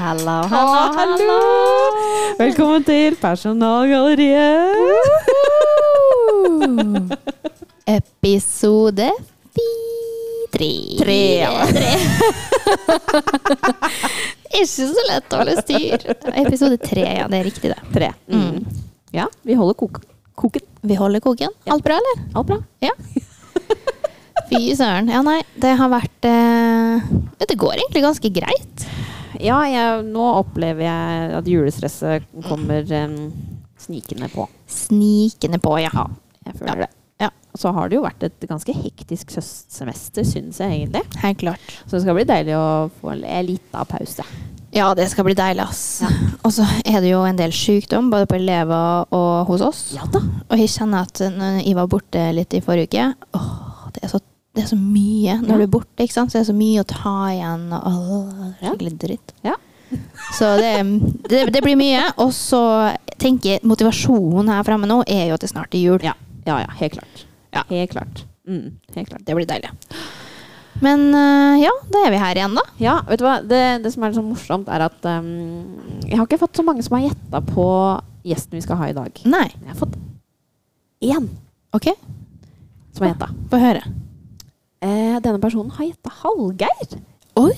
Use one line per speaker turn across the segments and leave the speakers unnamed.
Hallo, hallo, hallo! Velkommen til Personalgalleriet.
Episode fi- tre. Tre. Ikke så lett å holde styr. Episode tre, ja. Det er riktig, det.
Tre.
Mm.
Ja, vi holder kok koken.
Vi holder koken. Alt bra, eller?
Alt bra.
Ja. Fy søren. Ja, nei, det har vært eh, Det går egentlig ganske greit.
Ja, jeg, nå opplever jeg at julestresset kommer em, snikende på.
Snikende på, ja.
Jeg føler det.
Ja.
Så har det jo vært et ganske hektisk høstsemester, syns jeg egentlig.
Helt klart.
Så det skal bli deilig å få en liten pause.
Ja, det skal bli deilig, ass. Og så er det jo en del sykdom, både på elever og hos oss.
da.
Og jeg kjenner at når jeg var borte litt i forrige uke Åh, det er så, det er så mye når
Ja.
du er borte, ikke sant? Så det er så mye å ta igjen. Og, åh,
Ja.
skikkelig dritt.
Ja.
Så det, mm, det, det blir mye. Og så tenker jeg motivasjonen her fremme nå er jo at det snart er jul.
Ja, ja, ja helt klart.
Ja.
Helt klart. Mm, helt klart.
Det blir deilig. Men eh, ja, da er vi her igjen, da.
Ja, vet du hva? Det, det som er litt sånn morsomt, er at ehm, jeg har ikke fått så mange som har gjetta på gjesten vi skal ha i dag.
Nei.
Jeg har fått én
OK,
som har gjetta.
få høre.
Eh, denne personen har gjetta Hallgeir.
Oi!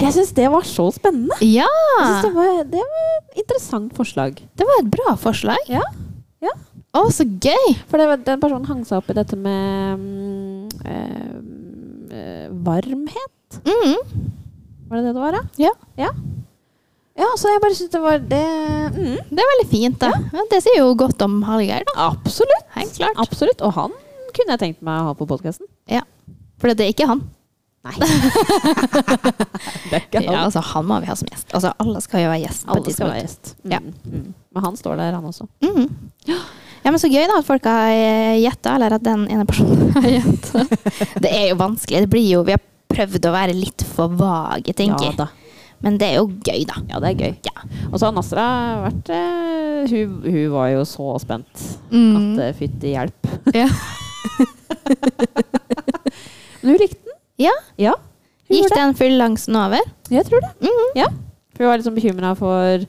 Jeg syns det var så spennende.
Ja!
Jeg synes det, var, det var et interessant forslag.
Det var et bra forslag.
Ja. Ja.
Å, så gøy!
For det, var- den personen hang seg opp i dette med mm, eh, eh, varmhet.
Mm.
Var det det det var, da?
Ja.
Ja, ja så jeg bare syns det var det mm.
Det er veldig fint, da. Ja. Det sier jo godt om Hallgeir, da.
Absolutt.
Helt klart.
Absolutt. Og han kunne jeg tenkt meg å ha på podkasten.
Ja. For det er ikke han.
Nei. det er ikke
Ja,
han.
altså, han må vi ha som gjest. Altså, alle skal jo være gjest. på
Alle
et
skal være
tidspunkt.
gjest.
Ja.
Mm, mm. Men han står der, han også.
Mhm. Ja, men Så gøy da at folk har eh, gjetta, eller at den ene personen har gjetta. Det er jo vanskelig. det blir jo, Vi har prøvd å være litt for vage, tenker
ja,
jeg.
da.
Men det er jo gøy, da.
ja, det er gøy.
Ja.
Og så har Nasra vært eh, hun, hun var jo så spent
Mm.
at eh, fytti hjelp.
Ja.
Men hun likte den.
Ja.
Ja, hun
Gikk
gjorde
den fylleangsten over?
det. Jeg tror det.
Mhm.
Ja. For hun var liksom bekymra for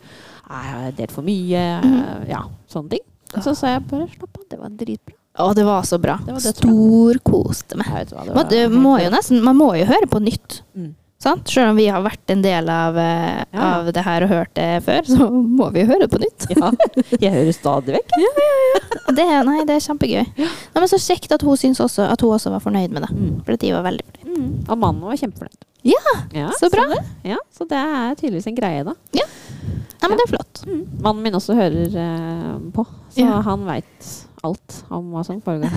«Nei, jeg har delt for mye,
Mm-hmm.
eh, ja, sånne ting. Og så sa jeg bare slapp av, det var dritbra.
Å, det var så bra.
Det var dødsbra.
Storkoste meg.
Jeg vet hva, det
Man,
var
det
helt
må
bra.
jo nesten, man må jo høre på nytt.
Mm.
Sant? Selv om vi har vært en del av, eh,
Ja.
av det her og hørt det før, så må vi jo høre på nytt.
Ja, jeg hører stadig vekk.
Og Det, nei, det er kjempegøy. Nei, men så kjekt at hun syns også at hun også var fornøyd med det.
Mm.
For at de var veldig fornøyd.
Og mannen var kjempefornøyd.
Mm. Ja,
Ja, sånn
så bra.
det, ja, så det er tydeligvis en greie, da.
Nei, men det er flott.
Mannen min også hører eh, på, så
Mm. Ja.
han veit alt om hva som foregår.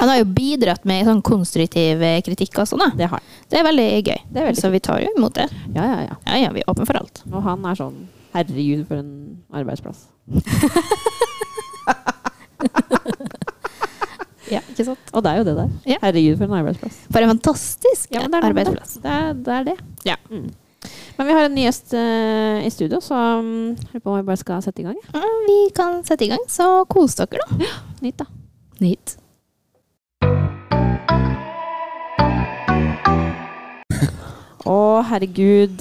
Han har jo bidratt med sånn konstruktiv eh, kritikk og sånn. da.
Det har han.
Det er veldig gøy.
Det er veldig
så vi tar jo imot det.
Ja, ja, ja.
Ja, ja, vi er åpne for alt.
Og han er sånn Herregud, for en arbeidsplass.
Ja, ikke sant?
Og det er jo det der.
Ja.
Herregud, for en arbeidsplass.
For en fantastisk
Ja, men det er noe med
arbeidsplass.
Det. Det, er, det er det.
Ja.
Mm. Men vi har en ny gjest eh, i studio, så mm, lurer på om vi bare skal sette i gang. ja.
Mm, Vi kan sette i gang, så kos dere, da.
Nytt, da.
Nytt.
Å, herregud.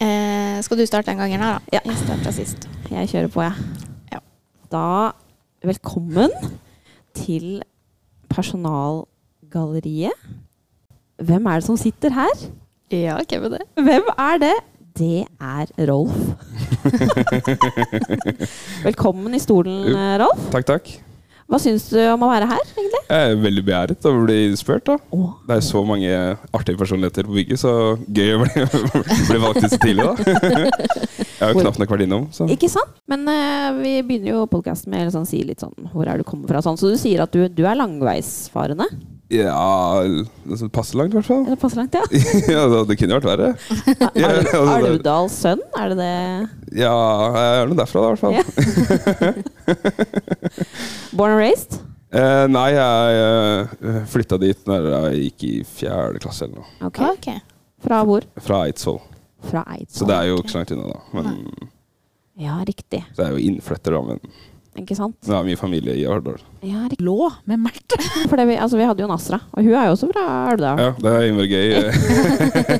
Eh, skal du starte den gangen her, da?
Ja.
Jeg starta sist.
Jeg kjører på, jeg.
Ja.
Da velkommen til Personalgalleriet. Hvem er det som sitter her?
Ja, hvem er det?
Hvem er det? Det er Rolf. velkommen i stolen, eh, Rolf.
Takk, takk.
Hva syns du om å være her, egentlig?
Jeg er veldig beæret over å bli spurt. da.
Åh.
Det er så mange artige personligheter på bygget, så gøy å bli, bli valgt ut så tidlig, da. Jeg har jo knapt nok vært innom. så.
Ikke sant? Men eh, vi begynner jo podkasten med å sånn, si litt sånn hvor er du kommer fra, sånn. Så du sier at du, du er langveisfarende?
Ja altså, Passe langt, i hvert fall.
Er det passe langt, ja?
Ja, da, det kunne vært verre. Ja,
Ar-
altså, det-
Alvdals sønn, er det det?
Ja, jeg er nå derfra, da, i hvert fall.
Ja. Born and raised?
Eh, nei, jeg eh, flytta dit når jeg gikk i fjerde klasse eller noe.
Ok.
Ok.
Fra hvor?
Fra Eidsvoll.
Fra Eidsvoll.
Så det er jo ikke så langt unna, da. Men
Ja, riktig.
så jeg er jo innflytter, da. Men
Ikke sant?
Det er mye familie i Arendal.
Ja, riktig.
Lå med Märtha.
For det vi, altså, vi hadde jo Nasra, og hun er jo også fra Elvdal.
Ja, det er innmari gøy. eh.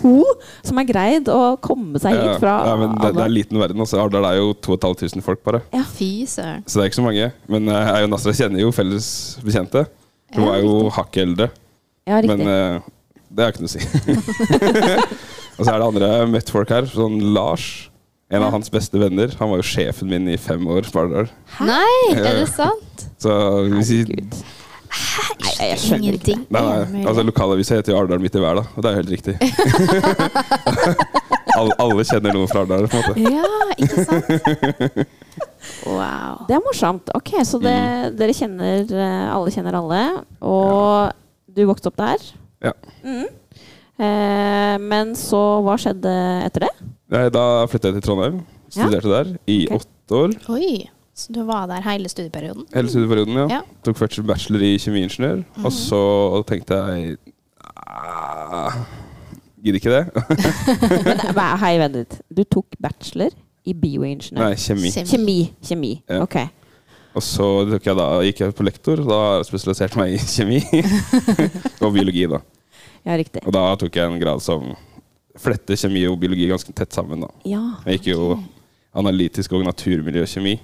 To som har greid å komme seg
Ja,
hit fra
ja, men det, det er
alle.
liten verden. Altså. Arendal er jo 2500 folk, bare.
Fy søren.
Så det er ikke så mange. Men eh, jeg og Nasra kjenner jo felles bekjente. Hun er jo hakket eldre,
Ja,
men
riktig.
eh, det er ikke noe å si. og så er det andre. Jeg har møtt folk her. Sånn Lars. En av hans beste venner. Han var jo sjefen min i fem år. på Arendal.
Nei,
Ja.
er det sant?
Så hvis vi
Gud. Nei, jeg skjønner ikke det.
Nei, nei. Altså, Lokalavisa heter jo Arendal midt i hver, da. Og det er jo helt riktig. alle, alle kjenner noen fra Arendal, på en måte.
Ja, ikke sant? Wow.
Det er morsomt. Ok, Så det,
Mm.
dere kjenner eh, Alle kjenner alle. Og du vokste opp der.
Ja.
Mhm. Eh, men så hva skjedde etter det?
Nei, Da flytta jeg til Trondheim.
Ja.
Studerte der i
Ok.
åtte år.
Oi, så du var der hele studieperioden?
Hele studieperioden, ja.
Ja.
Tok først bachelor i kjemiingeniør. Og så tenkte jeg ah, Gidder ikke det.
Men, eh, hva- hei, vent litt. Du tok bachelor i bioingeniør.
Nei, kjemi.
Kjemi. Kjemi.
Ja.
Ok.
Og så tok jeg da, gikk jeg på lektor, og da spesialiserte jeg meg i kjemi. og biologi, da.
Ja, riktig.
Og da tok jeg en grad som fletter kjemi og biologi ganske tett sammen. da.
Ja,
Jeg gikk jo analytisk og naturmiljøkjemi,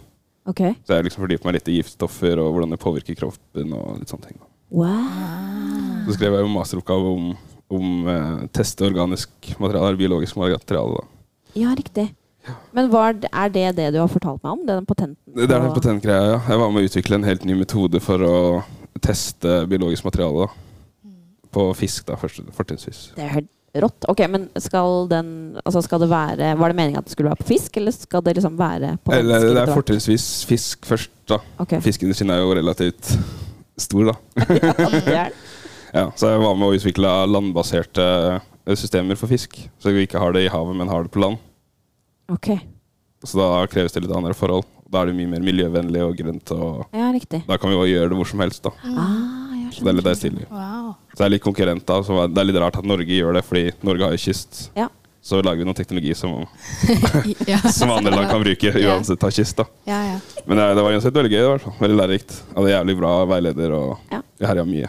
ok.
så jeg liksom fordypet meg litt i giftstoffer og hvordan det påvirker kroppen. og litt sånne ting. da.
Wow.
Mm.
Så skrev jeg jo masteroppgave om, om eh, teste organisk materiale, eller biologisk materiale. da.
Ja, riktig. Men var, det- er det det du har fortalt meg om? Den patenten?
Det det er den
på-
patentgreia, ja. Jeg var med å utvikle en helt ny metode for å teste biologisk materiale. da. På fisk, da, først- fortrinnsvis.
Det er helt rått. Ok, men skal den altså skal det være, Var det meningen at det skulle være på fisk, eller skal det liksom være på mennesker?
Eller det
etter
er
hvert?
fortrinnsvis fisk først, da.
Ok.
Fiskeindustrien er jo relativt stor, da.
Ja, det er det.
Ja, så jeg var med å utvikle landbaserte eh, systemer for fisk. Så vi ikke har det i havet, men har det på land.
Ok.
Så da kreves det litt andre forhold. Da er det mye mer miljøvennlig og grønt. og
Ja, riktig.
Da kan vi jo gjøre det hvor som helst. da.
Ah, jeg
Så det er litt
skjønner.
der stille.
Wow.
Så det er litt konkurrent da. Så det er litt rart at Norge gjør det, fordi Norge har jo kyst.
Ja.
Så lager vi noen teknologi som,
Ja.
som andre land kan bruke,
Ja.
uansett har kyst. da.
Ja, ja.
Men eh, det, det var uansett veldig gøy. i hvert fall. Veldig lærerikt. Hadde jævlig bra veileder og
Ja.
vi herja mye.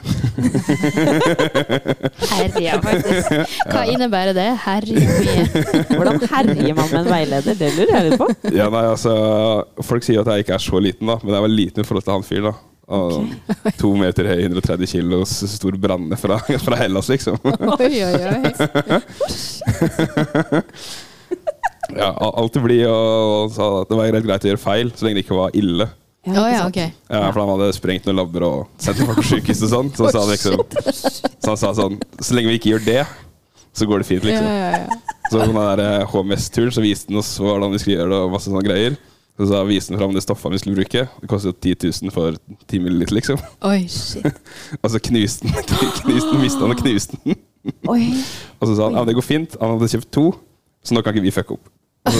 Herja, faktisk. Hva innebærer det? Herja mye.
Hvordan herjer man med en veileder? Det lurer jeg litt på.
Ja, nei, altså, Folk sier at jeg ikke er så liten, da, men jeg var liten i forhold til han fyren. da. Og To meter høy, 130 kilos, stor branne fra, fra Hellas, liksom.
Oi, oi, oi.
Ja, al- Alltid blid og, og sa at det var greit, greit å gjøre feil, så lenge det ikke var ille.
Ja,
Å
ikke
ja,
sant?
ok.
Ja, For han hadde sprengt noen labber og sendt folk på sykehus og sånn. Så, sa han liksom, så han sa sånn Så lenge vi ikke gjør det, så går det fint,
Ja,
liksom.
ja, ja.
Så på den der eh, HMS-turen så viste han oss hvordan vi skulle gjøre det, og masse sånne greier. Så sa viste han fram det stoffet vi skulle bruke. Det kostet 10 000 for 10 milliliter, liksom.
Oi, shit.
Og så knuste han, knuste han, miste han og knuste den.
Oi.
Og så sa han ja, det går fint, han hadde kjøpt to, så nå kan ikke vi fucke opp.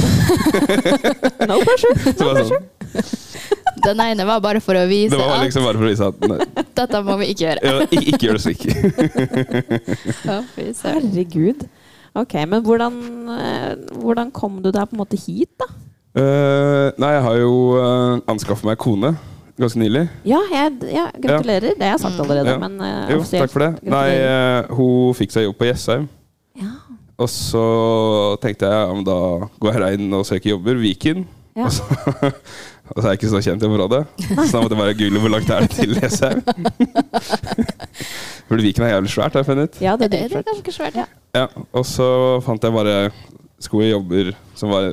No pressure.
Så var det, sånn,
Den ene var bare for å vise
det var
at
liksom bare for å vise at nei,
dette må vi ikke gjøre.
ja, ikke, ikke gjør det slik.
Å, fy søren.
Herregud. Ok, men hvordan, eh, hvordan kom du deg på en måte hit, da?
Eh, nei, jeg har jo uh, anskaffet meg kone ganske nylig.
Ja, jeg, ja gratulerer. Det har jeg sagt allerede,
Ja.
men eh,
Jo,
offisielt.
takk for det. Nei,
gratulerer.
eh, hun fikk seg jobb på Jessheim.
Ja.
Og så tenkte jeg ja, men da går jeg inn og søker jobber. Viken.
Ja.
Og, så, og så er jeg ikke så kjent i området. Så da måtte jeg bare google hvor langt det er til Jessheim. Fordi Viken er jævlig svært, har jeg funnet ut.
ja, det er
Det det er
dritflott.
ganske svært, ja.
Ja, og så fant jeg bare sko og jobber som var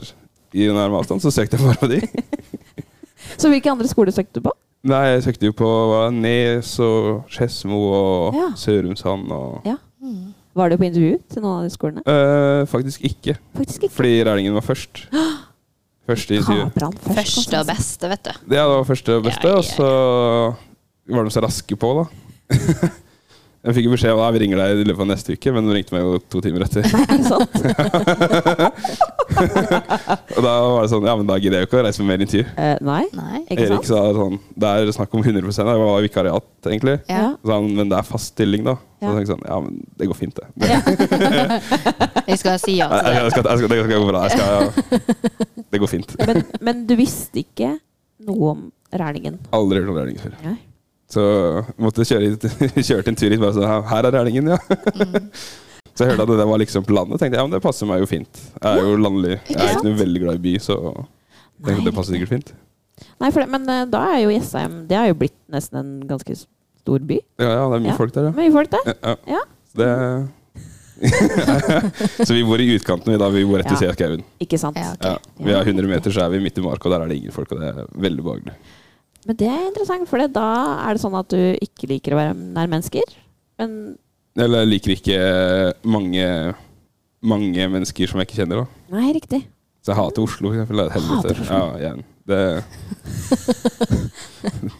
i nærme avstand, så søkte jeg bare på de.
Så hvilke andre skoler søkte du på?
Nei, jeg søkte jo på hva, Nes og Skedsmo og
Ja.
Sørumsand og
Ja. Var du på intervju til noen av de skolene?
Eh, Faktisk ikke,
Faktisk ikke.
fordi Rælingen var først. Første intervju.
Kapran først. altså.
Første
Konstantin.
og beste, vet du.
Ja, det var første og
Ja,
beste,
ja, ja.
og så var de så raske på, da. Jeg fikk jo beskjed om at vi ringer deg i løpet av neste uke, men de ringte meg jo to timer etter.
Nei, er det sant?
Og da var det sånn, ja, men da gidder jeg jo ikke å reise på mer intervju.
Eh, nei,
Nei.
ikke
Erik
sant?
sa sånn Det er snakk om 100 det var vikariat, egentlig.
Ja.
Ja.
Så sa han, men det er fast stilling, da.
Ja.
Så tenkte jeg sånn, ja, men det går fint, det. det
Jeg skal si ja
jeg,
til det.
jeg skal, jeg skal, det skal gå bra. Jeg skal, det går fint.
Men, men du visste ikke noe om Rælingen.
Aldri hørt om Rælingen før.
Nei.
Så måtte jeg kjøre hit, kjørte en tur hit bare så Her er Rælingen, ja.
Mm.
Så jeg hørte at det der var liksom på landet. tenkte jeg, ja, men det passer meg jo fint. Jeg er jo landlig. Jeg er
Ikke
ikke noe veldig glad i by, så tenkte det passer sikkert fint.
Nei, for det, men eh, da er jo Jessheim Det er jo blitt nesten en ganske s- stor by.
Ja, ja, det er mye
Ja.
folk der, ja.
Mye folk der.
ja. ja.
Ja.
Så Det så vi bor i utkanten, og da vi bor rett ved
Ja.
Seaskauen.
Ikke sant?
Ja, ok.
Ja. Vi er 100 meter, så er vi midt i marka, og der er det ingen folk, og det er veldig behagelig.
Men det er interessant, for det- da er det sånn at du ikke liker å være nær mennesker. Men
Eller jeg liker ikke mange, mange mennesker som jeg ikke kjenner, da.
Nei, riktig.
Så jeg hater Oslo, for eksempel. Det er et
Hater
helvete. Ja, igjen. Det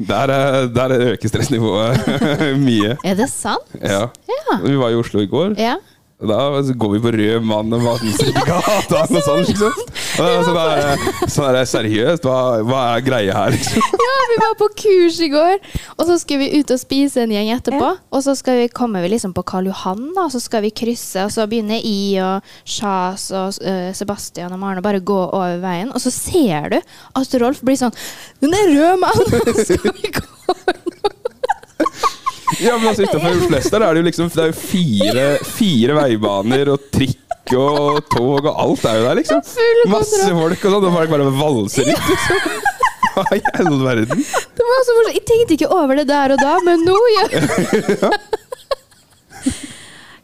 der, er, der øker stressnivået mye.
Er det sant?
Ja.
Ja.
Vi var i Oslo i går.
ja.
Og Da går vi på rød mann og matmusikk i gata og sånn, liksom. Og det er sånn der, sånn der, seriøst, hva, hva er greia her, liksom?
Ja, vi var på kurs i går, og så skulle vi ut og spise en gjeng etterpå. Og så skal vi, kommer vi liksom på Karl Johan, da, og så skal vi krysse, og så begynner I og Sjas og eh, Sebastian og Maren å bare gå over veien, og så ser du at Rolf blir sånn Den der røde mannen! Skal vi gå?
Ja, men altså Utenfor Flester er det jo liksom Det er jo fire, fire veibaner og trikk og tog og alt er jo der, liksom.
Full
Masse
kontroll.
folk og sånn, og folk bare valser rundt, liksom. Hva i all verden?
Det var så morsomt. Jeg tenkte ikke over det der og da, men nå gjør jeg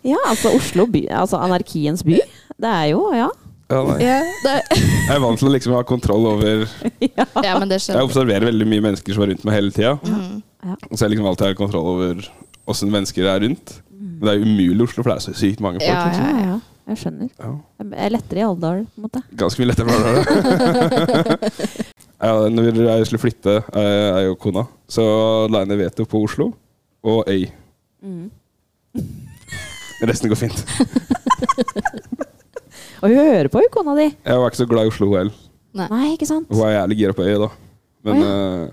Ja, altså Oslo by. Altså anarkiens by. Det er jo, ja.
Ja, nei.
det.
Jeg er vant til å liksom ha kontroll over
Ja, men det
Jeg
skjønner jeg.
observerer veldig mye mennesker som er rundt meg hele tida.
Mm.
Så jeg liksom alltid har kontroll over åssen mennesker er rundt. Men det er jo umulig i Oslo, for det er så sykt mange folk.
Ja,
liksom.
Ja, ja. Jeg skjønner.
Ja.
Det er lettere i Alvdal, på en måte.
Ganske mye lettere for deg. ja, når jeg skulle flytte, eh, er jo kona, så la jeg ned veto på Oslo og Øy. Resten går fint.
Og hun hører på, hun kona di.
Jeg var ikke så glad i Oslo heller.
Nei, ikke sant?
Hun er jævlig gira på Øy, da. Men eh,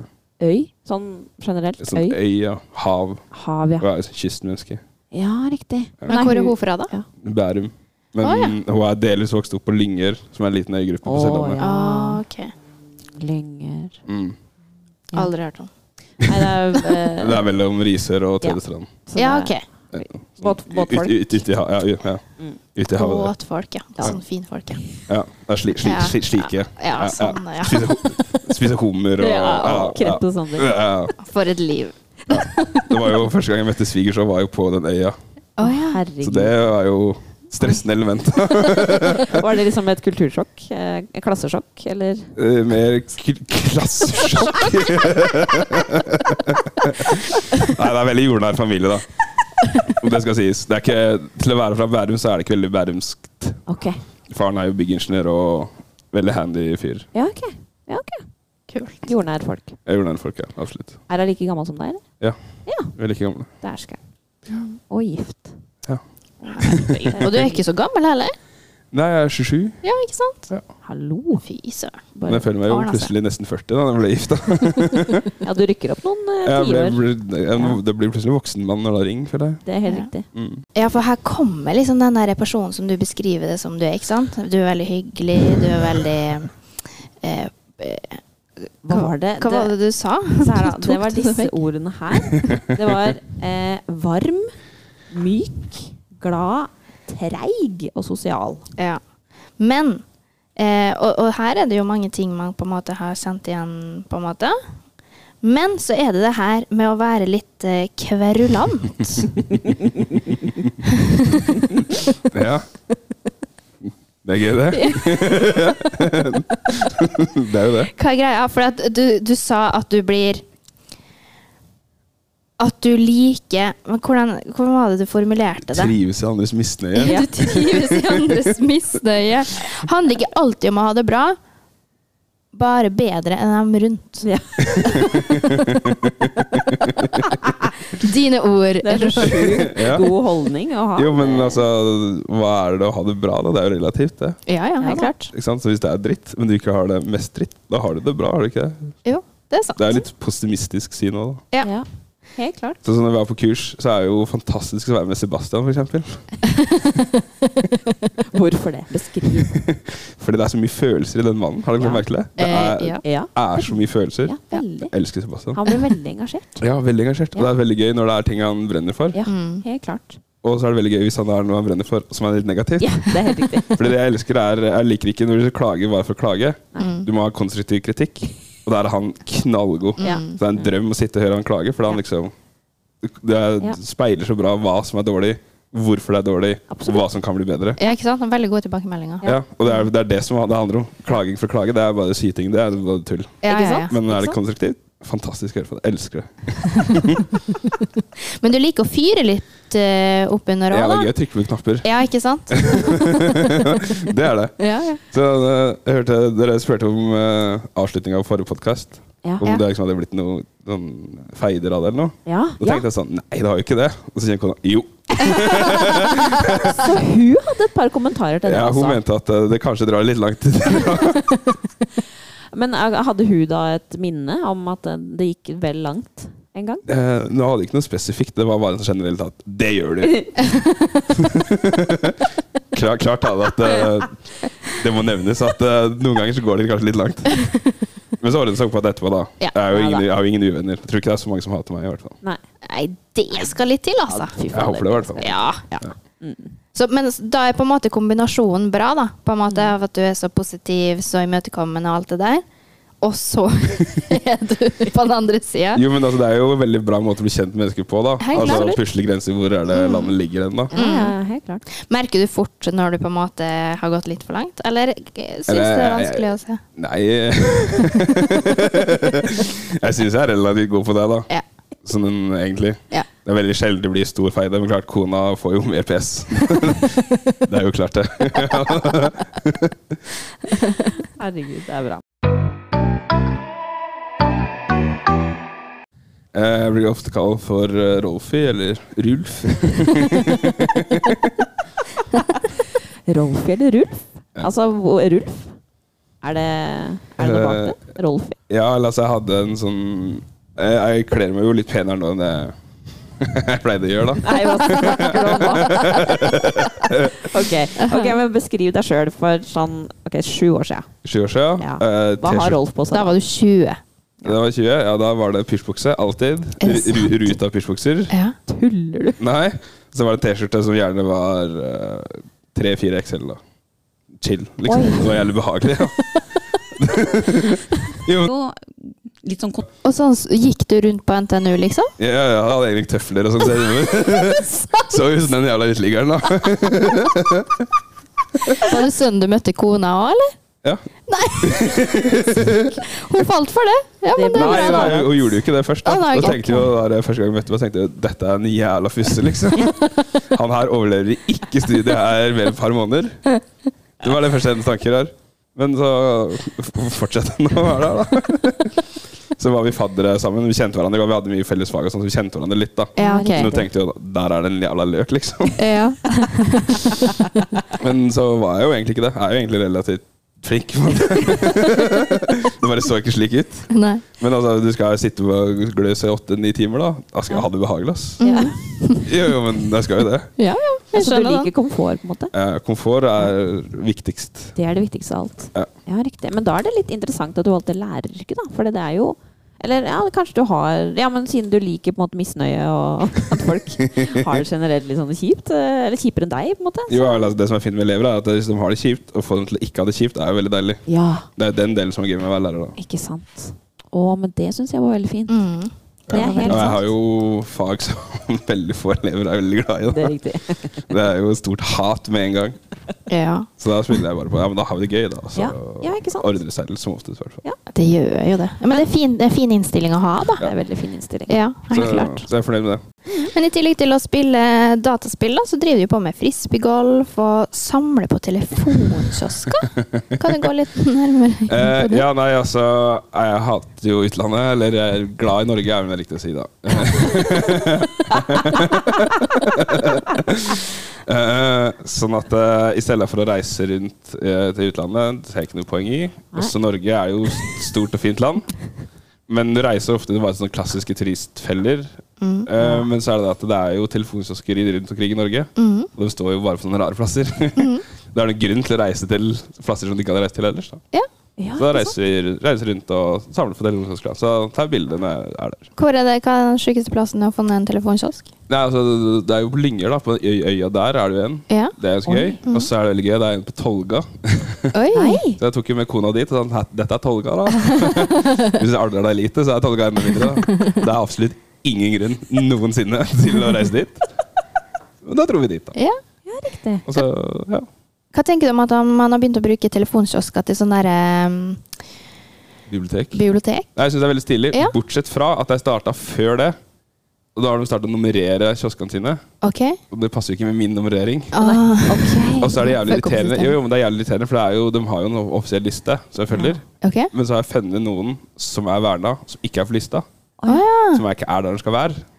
Øy. Sånn generelt.
sånn
Øy.
øy, ja. Hav.
Hav,
Hun
ja.
er jo sånn kystmenneske.
Ja, riktig.
Men hvor er hun fra, da?
Bærum. Men
Å, ja.
hun er delvis vokst opp på Lyngør, som er en liten øygruppe på
Å,
Sørlandet.
Ja.
Ah, ok.
Lynger
Mm.
Aldri hørt om.
Nei, det er, eh,
Det er mellom Risør og
Ja.
Tvedestrand.
så
Ja,
det
ok.
er- Båt- båtfolk.
Ut- ut- ut i ha- ja, u- ja.
Mm.
Ute i havet.
Båtfolk, ja.
Ja.
Sånn finfolk, ja.
der. Ja, det er sli, sli,
Ja.
sli, slike.
Ja, sånn, ja.
Spise, hu- spise hummer og
Ja, og krett og sånne ting.
Ja, ja.
For et liv.
Det var jo Første gang jeg møtte svigers, så var jeg jo på den øya.
Å ja.
Så det
Herregud.
var jo stressende element.
Var det liksom et kultursjokk? Eh, Klassesjokk, eller?
Eh, Mer k- klassesjokk. Nei, det er veldig jordnær familie, da. Om Det skal sies. Det er ikke, til å være fra Bærum, så er det ikke veldig bærumsk.
Ok.
Faren er jo byggingeniør og veldig handy fyr.
Ja, ok. Ja, ok.
Kult.
Jordnær folk.
Jeg er Jordnære folk, ja. Absolutt.
Er hun like gammel som deg, eller?
Vi er like gamle.
Det er skau. Og gift.
Ja.
Og du er ikke så gammel heller?
Nei, jeg er 27,
Ja, ikke sant?
Hallo!
Fy søren.
men
Bare.
jeg føler meg jo
Barn, altså.
plutselig nesten 40 da når jeg ble gift. da.
Ja, du rykker opp noen eh,
Jeg ble,
tiår.
ble, jeg, det blir plutselig voksen mann når det er ring, føler jeg.
Det er helt
Ja.
riktig.
Mm.
Ja, for her kommer liksom den der personen som du beskriver det som du er, ikke sant? Du er veldig hyggelig, du er veldig eh, eh,
Hva var det?
Hva var det du sa?
Så her da,
Du tok
det var disse
vekk.
ordene her. Det var eh, varm, myk, glad, treig og sosial.
Ja. Men eh, og, og her er det jo mange ting man på en måte har sendt igjen, på en måte. Men så er det det her med å være litt eh, kverulant.
Ja. Det er gøy, det. det er jo det.
Hva er greia? For at du, du sa at du blir At du liker men hvordan, hvordan var det du formulerte det?
Trives i andres misnøye.
Ja.
Du trives i andres misnøye. Handler ikke alltid om å ha det bra, bare bedre enn dem rundt.
Ja.
Dine ord.
Det er så sjukt
Ja.
god holdning å ha.
Jo, men altså, hva er det å ha det bra, da? Det er jo relativt, det.
Ja, ja, helt
Ja da.
klart.
Ikke sant? Så hvis det er dritt, men du ikke har det mest dritt, da har du det bra, har du ikke det?
Jo, det er sant.
Det er litt postimistisk syn òg, da.
Ja.
Ja. Helt klart.
Sånn som Når vi var på kurs, så er det jo fantastisk å være med Sebastian, for eksempel
Hvorfor det? Beskriv.
Fordi det er så mye følelser i den mannen. Har dere
Ja.
lagt merke til det? Det
Eh,
er,
ja.
Ja,
er så mye følelser.
ja veldig.
Jeg elsker Sebastian.
Han blir veldig engasjert.
Ja, veldig engasjert. Og det er veldig gøy når det er ting han brenner for.
Ja,
Mm.
helt klart.
Og så er det veldig gøy hvis han er noe han brenner for som er litt negativt.
Ja, det er helt riktig.
Fordi det jeg elsker er Jeg liker ikke når du klager bare for å klage.
Mm.
Du må ha konstruktiv kritikk. Og der er han knallgod.
Ja.
Mm.
Så det er en drøm å sitte og høre han klage, for da han liksom Det er-
Ja.
speiler så bra hva som er dårlig, hvorfor det er dårlig, og
Absolutt.
hva som kan bli bedre.
Ja, ikke sant? Han har veldig gode tilbakemeldinger.
Ja.
Ja, og det er, det er det som det handler om. Klaging for klage, det er bare å si ting. Det er bare tull.
Ja,
Ikke
ja, ja.
sant?
Men
Ikke
er det
sant?
konstruktivt? Fantastisk å høre på. Jeg elsker det.
Men du liker å fyre litt eh, opp under
Ja, det er
òg,
gøy å trykke på knapper.
da? Ja, ikke sant?
Det er det.
Ja, ja.
Så eh, jeg hørte Dere spurte om uh, avslutninga av forrige podkast.
Ja.
Om
Ja.
det liksom hadde blitt noe noen feider av det eller noe.
Ja,
Da
ja.
tenkte jeg sånn Nei, det har jo ikke det. Og så kjenner kona Jo.
Så hun hadde et par kommentarer til det.
Ja, hun
altså.
mente at eh, det kanskje drar litt langt.
Men eh, hadde hun da et minne om at eh, det gikk vel langt en gang?
Eh, Nå hadde jeg ikke noe spesifikt, det var bare sånn generelt at det gjør du. Klar, klart er det at eh, det må nevnes at eh, noen ganger så går det kanskje litt langt. Men så ordnet det seg opp på det etterpå, da.
Ja.
Jeg har
Ja,
jo
da.
ingen, jeg har jo ingen uvenner. Jeg tror ikke det er så mange som hater meg, i hvert fall.
Nei.
Nei, det skal litt til, altså.
Fy
Jeg håper det, i hvert fall.
Ja.
Ja.
Så, men s- da er på en måte kombinasjonen bra, da. På en måte av at du er så positiv, så imøtekommende og alt det der. Og så er du på den andre sida.
Jo, men altså, Det er jo en veldig bra måte å bli kjent med mennesker på. da
Helt
Altså
klart.
Pusle grenser. Hvor er det landet ligger hen, da?
Ja, ja, helt klart.
Merker du fort når du på en måte har gått litt for langt, eller eh, syns det
Eller, eh,
er
jeg-
vanskelig å se?
Nei eh, Jeg syns jeg er relativt god på det, da.
Ja.
Sånn en- egentlig.
Ja.
Det er veldig sjelden det blir stor feide, men klart kona får jo mer PS. det er jo klart, det.
Herregud, det er bra.
Eh, Jeg blir ofte kalt for eh, Rolfie, eller Rulf.
Rolfie eller Rulf?
Ja.
Altså, hvor- Rulf? Er det, er det noe bak det?
Eh.
Rolfie?
Ja, eller altså, jeg hadde en sånn eh, Jeg kler meg jo litt penere nå enn jeg jeg pleide å gjøre, da.
Nei, hva snakker du om nå? Ok, ok, men beskriv deg sjøl for sånn ok, sju år siden.
Sju år siden.
Ja.
Eh,
Hva har
t-skjorte-
Rolf på seg?
Da var du 20.
Da var jeg 20. Ja, da var det pysjbukse. Alltid.
Er det
Ru- ru- Ruta pysjbukser.
Ja.
Tuller du?
Nei. Så var det en T-skjorte som gjerne var eh, tre-fire XL, da. Chill, liksom.
Oi.
Det var jævlig behagelig. Ja. jo,
jo litt sånn kon-
Og sånn s- gikk du rundt på NTNU, liksom?
ja, ja, jeg hadde egentlig tøfler og sånn. Så jeg- så ut som den jævla uteliggeren, da.
Var det sånn du møtte kona òg, eller?
Ja.
Hun falt for det. Ja, men
Det
det
er
Nei,
er bra.
nei, hun gjorde jo ikke det først. Da,
Å, nei,
da
ok.
tenkte jeg jo, da jeg første gang jeg møtte meg, tenkte jeg dette er en jævla fysse, liksom. Han her overlever ikke studiet her mer enn et par måneder. Det var det første hennes tanker her. Men så f- fortsatte han å være der, da. Så var vi faddere sammen. Vi kjente hverandre, og vi hadde mye felles fag, og sånn, så vi kjente hverandre litt, da.
da. Ja,
Så nå
ok.
tenkte jeg jo der er det en jævla løk, liksom.
Ja.
Men så var jeg jo egentlig ikke det. Jeg er jo egentlig relativt flink. men- Det bare så ikke slik ut.
Nei.
Men altså, du skal sitte og gløs i åtte-ni timer, da. Da skal jeg ha det behagelig, ass.
Ja,
Jo, jo, men jeg skal jo det.
ja. ja. Jeg
Så Altså, du
skjønner det.
liker komfort, på en måte?
Eh, Komfort er viktigst.
Det er det viktigste av alt.
Ja.
Ja, riktig. Men da er det litt interessant at du valgte læreryrket, da. For det er jo Eller ja, kanskje du har Ja, men siden du liker på en måte misnøye og at folk har det generelt litt sånn kjipt, eh, eller kjipere enn deg, på en måte.
Jo, altså, Det som er fint med elever, er at hvis de har det kjipt, å få dem til å ikke ha det kjipt, er jo veldig deilig.
Ja,
Det er den delen som er gøy med å være lærer, da.
ikke sant. Å, men det syns jeg var veldig fint.
Mm.
Det er helt
Og jeg har
sant.
jo fag som veldig få elever er veldig glad i.
Det
Da.
er riktig.
Det er jo et stort hat med en gang.
Ja.
Så da spiller jeg bare på Ja, men da har vi det gøy, da. Så
Ja, ja, ikke sant?
ordner det seg litt som oftest, i hvert fall.
Det gjør jo det. Men det er fin, det er fin innstilling å ha, da.
Det er veldig fin innstilling.
Ja, helt
Så,
klart.
så jeg er fornøyd med det.
Men i tillegg til å spille dataspill, da, så driver du på med frisbeegolf og samler på telefonkiosker. Kan du gå litt nærmere inn på
Eh,
det?
ja, nei, altså Jeg hater jo utlandet. Eller jeg er glad i Norge, er vel riktig å si, da. Eh, sånn at eh, i stedet for å reise rundt eh, til utlandet, det er ikke noe poeng i. Også Norge er jo et stort og fint land. Men du reiser ofte til bare sånne klassiske sånn turistfeller.
Mm.
Eh, Men så er det det at det er jo telefonkiosker i- rundt omkring i Norge.
Mm.
Og de står jo bare på sånne rare plasser. det er noen grunn til å reise til plasser som de ikke hadde reist til ellers. Da.
Ja,
Så da
ikke sant?
reiser vi reiser rundt og samler på telefonkiosker. da. Så tar vi bilder når jeg er der.
Hvor er det, hva er den sykeste plassen å få ned en telefonkiosk?
Nei, altså, det er jo på Lyngør, da. På øy- øya der er det jo en.
Ja.
Det er ganske
Oi.
gøy. Og så er det veldig gøy, det er en på Tolga.
Oi.
Nei!
Så jeg tok jo med kona dit og sa "Hæ, dette er Tolga, da. Hvis jeg aldri er lite, så er Tolga enda mindre. Da. Det er absolutt ingen grunn noensinne til å reise dit. Men da dro vi dit, da.
Ja.
Ja, riktig.
Og så, ja.
Hva tenker du om at man har begynt å bruke telefonkiosker til sånn derre
Bibliotek.
bibliotek?
Nei, jeg syns det er veldig stilig,
Ja.
bortsett fra at jeg starta før det. Og da har de starta å nummerere kioskene sine,
OK?
og det passer jo ikke med min nummerering.
Ah,
Og så er det jævlig
Fuck opp
irriterende,
systemet.
jo, jo, men det er jævlig irriterende for det er jo, de har jo en offisiell liste som jeg følger.
OK?
Men så har jeg funnet noen som er verna, som ikke er på lista.
Å ja.
Som jeg ikke er der de skal være.
ja.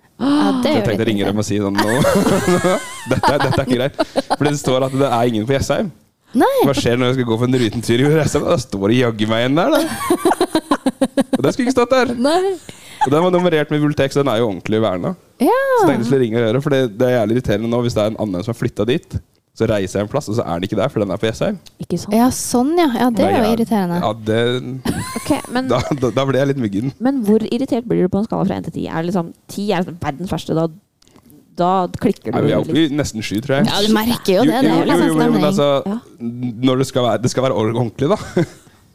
Det
Så
er jo
jeg tenkte
litt
jeg ringer dem og sier sånn nå. dette, er- dette er ikke greit. For det står at det er ingen på Jessheim.
Nei.
Hva skjer når jeg skal gå for en liten tur i Jessheim? Da står det jaggu meg en der, da. Og den skulle ikke stått der.
Nei.
Og den var nummerert med bibliotek, så den er jo ordentlig verna. Så tenkte jeg skulle ringe og høre, for det, det er jævlig irriterende nå hvis det er en annen som har flytta dit. Så reiser jeg en plass, og så er den ikke der, for den er på Jessheim.
Ikke sant?
Ja, sånn, ja. Ja, Det er jo
jæv-
irriterende.
Ja, det,
Ok, men,
da, da, da ble jeg litt myggen.
men hvor irritert blir du på en skala fra 1 til 10? Er det liksom 10 er liksom verdens verste, da, da klikker
Nei,
du
vi er oppe
litt?
i nesten sju, tror jeg.
Ja, du merker jo det. Det er jo litt sånn
men
stemning.
altså,
Ja.
når det skal, være, det skal være ord- ordentlig, da.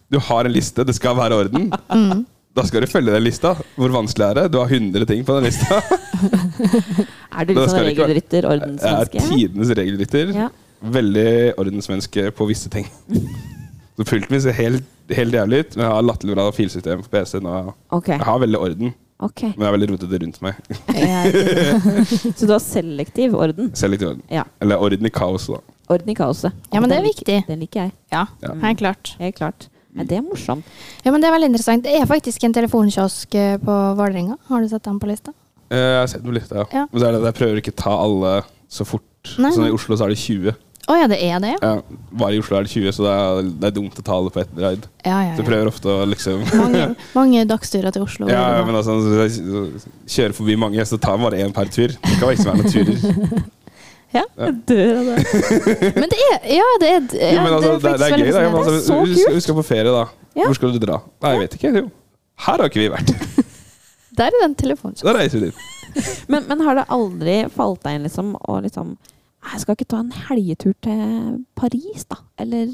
Du har en liste, det skal være orden.
Mm.
Da skal du følge den lista. Hvor vanskelig er det? Du har 100 ting på den lista.
Er du
Da
litt
skal
sånn
det ikke være-
regelrytter,
Jeg er
ordensmenneske?
tidenes regelrytter.
Ja.
Veldig ordensmenneske på visse ting. Så pulten min ser helt, helt jævlig ut, men jeg har latterlig bra filsystem på PC-en. og
Ok.
Jeg har veldig orden,
ok.
men jeg er veldig rotete rundt meg.
Ja, ikke sant.
Så du har selektiv orden?
Selektiv orden.
Ja.
Eller orden i kaos, da.
Orden i kaoset.
Ja, men det er
Den lik-
viktig.
Den liker jeg.
Ja,
Ja.
helt klart.
Helt klart. Nei, det er morsomt.
Ja, men Det er veldig interessant. Det er faktisk en telefonkiosk eh, på Vålerenga. Har du sett den på lista?
Eh, Jeg har sett noen lister, ja.
Ja.
Men så er det at jeg prøver ikke ta alle så fort.
Nei,
Så
nei.
I Oslo så er det 20.
Å ja, det er det, ja?
Ja, bare i Oslo er det 20, så det er, det er dumt å ta alle på ett raid.
Ja, ja,
Så jeg
ja.
prøver ofte å liksom
Mange, mange dagsturer til Oslo.
ja,
er
ja,
det
men
da.
altså, Kjøre forbi mange, så tar jeg bare én per tur. Det skal liksom være noen turer.
Jeg dør av det.
men det er Ja, det er,
altså- Jo,
ja,
men altså, det,
faktisk veldig
det er gøy,
sånn,
da.
Det er
fascinerende.
Ja, men
så
altså, vi, skal, vi skal på ferie, da.
Ja.
Hvor skal du dra? Nei, jeg vet ikke. Jo. Her har ikke vi vært.
Der er den
Så da
telefonkiosken.
reiser vi dit.
Men, men har det aldri falt deg inn liksom, å liksom Jeg skal ikke ta en helgetur til Paris, da? Eller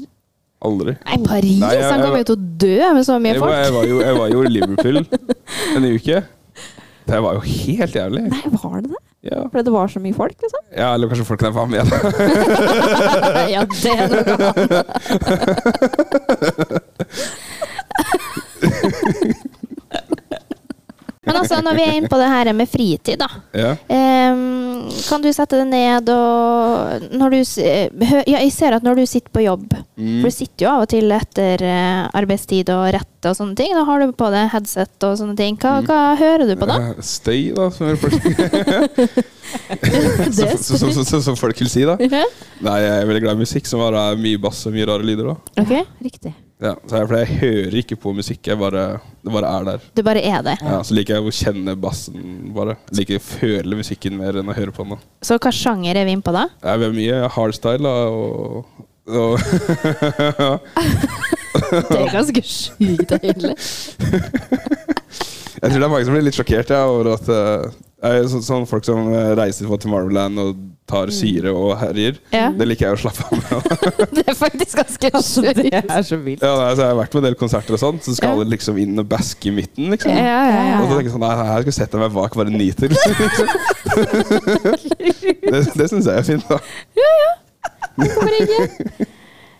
Aldri.
Nei, Paris!
Nei, jeg-
han kommer jo til å dø med så mye
Jeg var,
folk.
jeg, var jo, jeg var jo i Liverpool en uke. Det var jo helt jævlig.
Nei, var det det?
Ja.
Fordi det var så mye folk, liksom?
ja, eller kanskje folk der var med. da.
ja, det er noe annet. Men altså, når vi er inne på det her med fritid, da.
Ja.
Ehm, kan du sette det ned og når du, s- eh, hø- ja, Jeg ser at når du sitter på jobb
Mm.
For du sitter jo av og til etter eh, arbeidstid og rett og sånne ting. Da har du på deg headset og sånne ting. Hva,
Mm.
hva hører du på da?
Eh, Støy, da, som folk,
Det
som, som, som, som, som folk vil si. da Nei, Jeg er veldig glad i musikk, som bare er mye bass og mye rare lyder. da
Ok.
Riktig.
ja, så jeg, for jeg hører ikke på musikk, jeg bare, det bare er der.
Du bare er det.
Ja, så liker jeg å kjenne bassen bare. Jeg liker å føle musikken mer enn å høre på den. da.
Så hva sjanger er vi inne på da?
Jeg vil ha mye hardstyle da, og, og
Det er ganske sjukt, egentlig.
Jeg tror det er mange som blir litt sjokkert ja, over at eh, jeg er så, sånn Folk som eh, reiser på Tomorrowland og tar syre og herjer.
Mm. Ja.
Det liker jeg å slappe av med.
Det er faktisk ganske
Altså, det
sjukt.
er så vilt.
Ja, nei, så jeg har vært på en del konserter, og sånn så skal
Ja.
alle liksom inn og baske i midten.
Ja,
liksom
ja, ja.
Og så tenker jeg sånn, nei, nei, her skal jeg sette meg bak bare nyter. det det syns jeg er fint. da
Hvorfor ikke?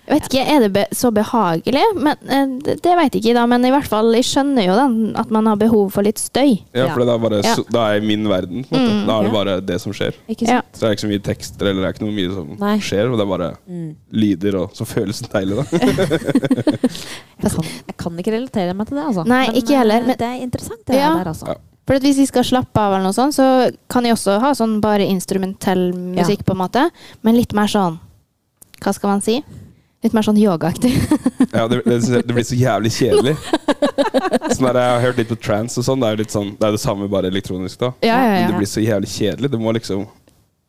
Jeg vet ikke, Er det be så behagelig? Men, eh, det det vet jeg ikke, da. Men i hvert fall, jeg skjønner jo den, at man har behov for litt støy.
Ja, for da, er bare,
Ja. Mm,
så- da er jeg i min verden. på en måte Da er det
ja.
bare det som skjer.
Ikke
Ja.
sant?
Så det er ikke så mye tekster eller det er ikke noe mye som
Nei.
skjer. Og det er bare
Mm.
lyder og så føles det deilig, da.
Jeg, kan, jeg kan ikke relatere meg til det, altså.
Nei, ikke jeg heller,
eh,
men-
det er interessant, det
Ja.
der, altså.
Ja.
For at Hvis vi skal slappe av, eller noe sånt, så kan jeg også ha sånn bare instrumentell musikk, på en måte. Men litt mer sånn Hva skal man si? Litt mer sånn yogaaktig.
Ja, det, det, det blir så jævlig kjedelig. Sånn der, jeg har hørt litt på trans og sånn. Det er jo litt sånn, det er det samme, bare elektronisk. da.
Ja, ja,
Men det
ja.
blir så jævlig kjedelig. Det må liksom,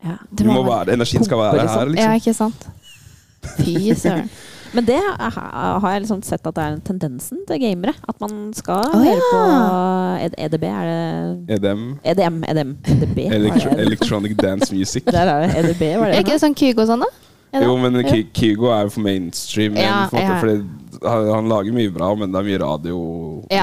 Ja.
du må være, Energien skal være
Pumper,
her,
sånn. Ja,
liksom.
ikke sant?
Fy søren. Men det er- har jeg liksom sett at det er en tendensen til gamere. At man skal
Å,
høre
ja.
på E-, Ed- EDB, er det E
EDM.
EDM, EDM. EDB?
Elektro,
var det?
electronic Dance Music.
Der er det. EDB, var det.
Er ikke det sånn Kygo og sånn, da? Er det?
Jo, men Ky- Kygo er jo for mainstream. igjen,
Ja,
på en måte,
ja.
Fordi han, han lager mye bra, men det er
Ja.
mye